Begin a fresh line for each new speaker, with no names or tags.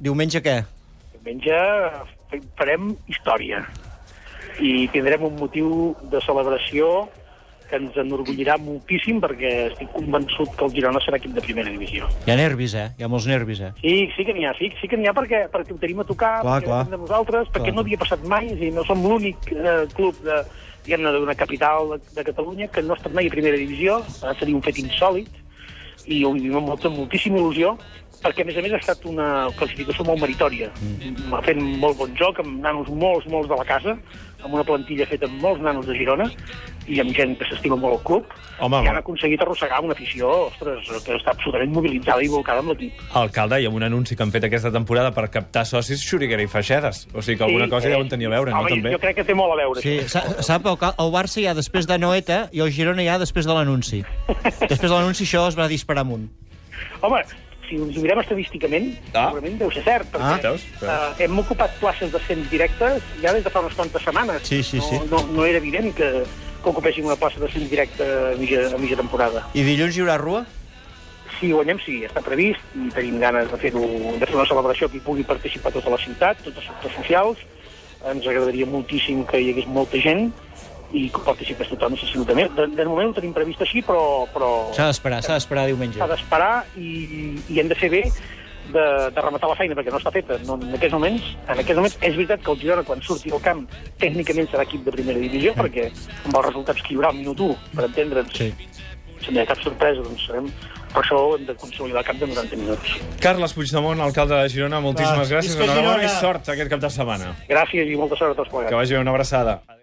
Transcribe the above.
Diumenge què?
Diumenge eh, farem història i tindrem un motiu de celebració que ens enorgullirà moltíssim perquè estic convençut que el Girona serà equip de primera divisió.
Hi ha nervis, eh? Hi ha molts nervis, eh?
Sí, sí que n'hi ha, sí, sí que n'hi ha perquè, perquè ho tenim a tocar,
Clar,
perquè
clar.
depèn de nosaltres, perquè
Clar.
no havia passat mai, i no som l'únic eh, club de, diguem-ne, d'una capital de, de Catalunya que no ha estat mai a primera divisió, eh, seria un fet insòlid, i ho vivim amb molta, moltíssima il·lusió, perquè, a més a més, ha estat una classificació molt meritòria, mm. fent molt bon joc, amb nanos molts, molts de la casa, amb una plantilla feta amb molts nanos de Girona, i amb gent que s'estima molt el club,
Home,
i han
home.
aconseguit arrossegar una afició, ostres, que està absolutament mobilitzada i volcada amb l'equip.
Alcalde, i amb un anunci que han fet aquesta temporada per captar socis, xuriguera i faixeres. O sigui que alguna cosa
eh,
deuen tenir a veure, no?
home,
També.
Jo crec que té molt a veure.
Sí, sa- sap, el, Ca- el Barça hi ha després de Noeta i el Girona hi ha després de l'anunci. Després de l'anunci això es va disparar amunt.
Home, si ens ho mirem estadísticament,
Ah.
segurament deu ser cert,
Ah,
perquè
veus?
eh, hem ocupat places d'ascens directes ja des de fa unes quantes setmanes.
Sí, sí,
no,
sí.
No, no era evident que, que ocupéssim una plaça d'ascens directe a mitja, a mitja temporada.
I dilluns hi haurà rua?
Si guanyem, sí, està previst, i tenim ganes de fer-ho, de fer una celebració que hi pugui participar tota la ciutat, tots els sectors socials. Ens agradaria moltíssim que hi hagués molta gent i que participés tothom, absolutament. De, de moment ho tenim previst així, però... però...
S'ha d'esperar, s'ha d'esperar diumenge.
s'ha d'esperar i, i hem de fer bé de, de rematar la feina, perquè no està feta no, en aquests moments. En aquests moments és veritat que el Girona, quan surti al camp, tècnicament serà equip de primera divisió, perquè amb els resultats que hi haurà al minut 1, per entendre'ns,
Sí.
si no hi ha cap sorpresa, doncs sabem. Per això ho hem de consolidar al camp de 90 minuts.
Carles Puigdemont, alcalde de Girona, moltíssimes
Va,
gràcies.
visca
Enhorabona i
Girona.
sort aquest cap de setmana.
Gràcies i molta sort a tots plegats.
Que vagi bé, una abraçada.